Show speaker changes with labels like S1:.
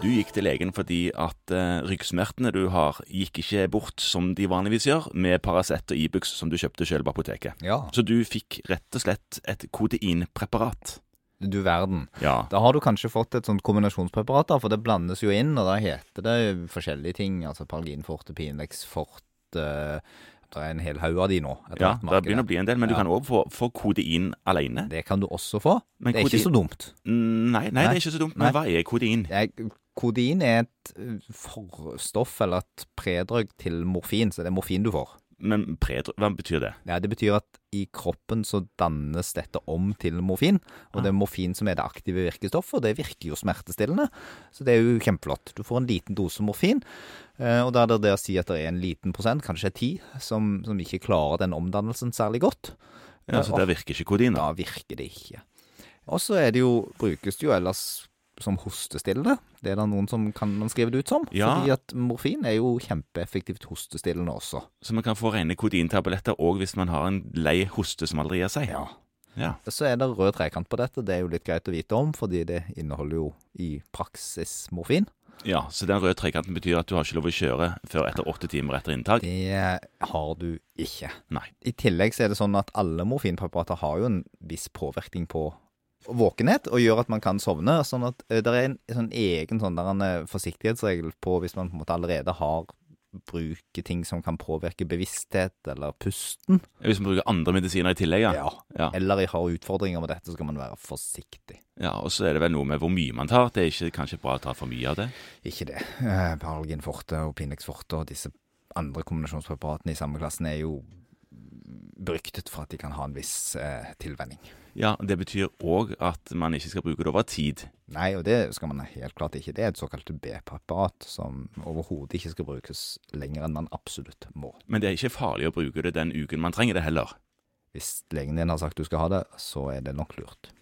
S1: Du gikk til legen fordi at eh, ryggsmertene du har, gikk ikke bort som de vanligvis gjør, med Paracet og Ibux som du kjøpte selv på apoteket.
S2: Ja,
S1: Så du fikk rett og slett et kodeinpreparat.
S2: du verden.
S1: Ja.
S2: Da har du kanskje fått et sånt kombinasjonspreparat, da, for det blandes jo inn, og da heter det forskjellige ting. Altså Paralgin forte, Pinex forte eh, Det er en hel haug av de nå. etter
S1: Ja,
S2: hvert
S1: det
S2: markedet.
S1: begynner å bli en del, men du
S2: Ja.
S1: kan òg få, få kodein alene.
S2: Det kan du også få.
S1: Men
S2: det er
S1: kodein-
S2: ikke så dumt.
S1: Mm, Nei, nei, det er ikke så dumt. Men
S2: Nei.
S1: hva er kodein?
S2: Jeg- Kodein er et eh, forstoff eller et predrøgg til morfin, så det er morfin du får.
S1: Men predro, hva betyr det?
S2: Ja, det betyr at i kroppen så dannes dette om til morfin, og det er morfin som er det aktive virkestoffet, og det virker jo smertestillende, så det er jo kjempeflott. Du får en liten dose morfin, eh, og da er det det å si at det er en liten prosent, kanskje ti, som, som ikke klarer den omdannelsen særlig godt.
S1: Ja, så
S2: Eh,
S1: der Altså, virker ikke kodein. da.
S2: da virker det ikke. Og så er det jo, brukes det jo ellers som hostestillende. Det er det noen som kan man skrive det ut som.
S1: Ja.
S2: Fordi at morfin er jo kjempeeffektivt hostestillende også.
S1: Så man kan få rene kodeintabletter òg hvis man har en lei hoste som aldri gir seg. Ja.
S2: Så er det rød trekant på dette. Det er jo litt greit å vite om, fordi det inneholder jo i praksis morfin.
S1: ja, Så den røde trekanten betyr at du har ikke lov å kjøre før etter åtte timer etter inntak?
S2: Det har du ikke.
S1: Nei.
S2: I tillegg så er det sånn at alle morfinpreparater har jo en viss påvirkning på våkenhet, og gjør at man kan sovne. Sånn at eh, det er en sånn egen sånn der en eh, forsiktighetsregel på hvis man på en måte allerede har bruker ting som kan påvirke bevissthet eller pusten.
S1: Hvis man bruker andre medisiner i tillegg, ja. Ja.
S2: Eller har utfordringer med dette, så skal man være forsiktig.
S1: ja. Og så er det vel noe med hvor mye man tar. Det er ikke kanskje bra å ta for mye av det.
S2: Ikke det. Eh, Paralgin forte og Pinex forte og disse andre kombinasjonspreparatene i samme klassen er jo beryktet for at de kan ha en viss eh, tilvenning.
S1: Ja, Det betyr òg at man ikke skal bruke det over tid.
S2: Nei, og det skal man helt klart ikke. Det er et såkalt B-preparat som overhodet ikke skal brukes lenger enn man absolutt må.
S1: Men det er ikke farlig å bruke det den uken man trenger det heller.
S2: Hvis legen din har sagt du skal ha det, så er det nok lurt.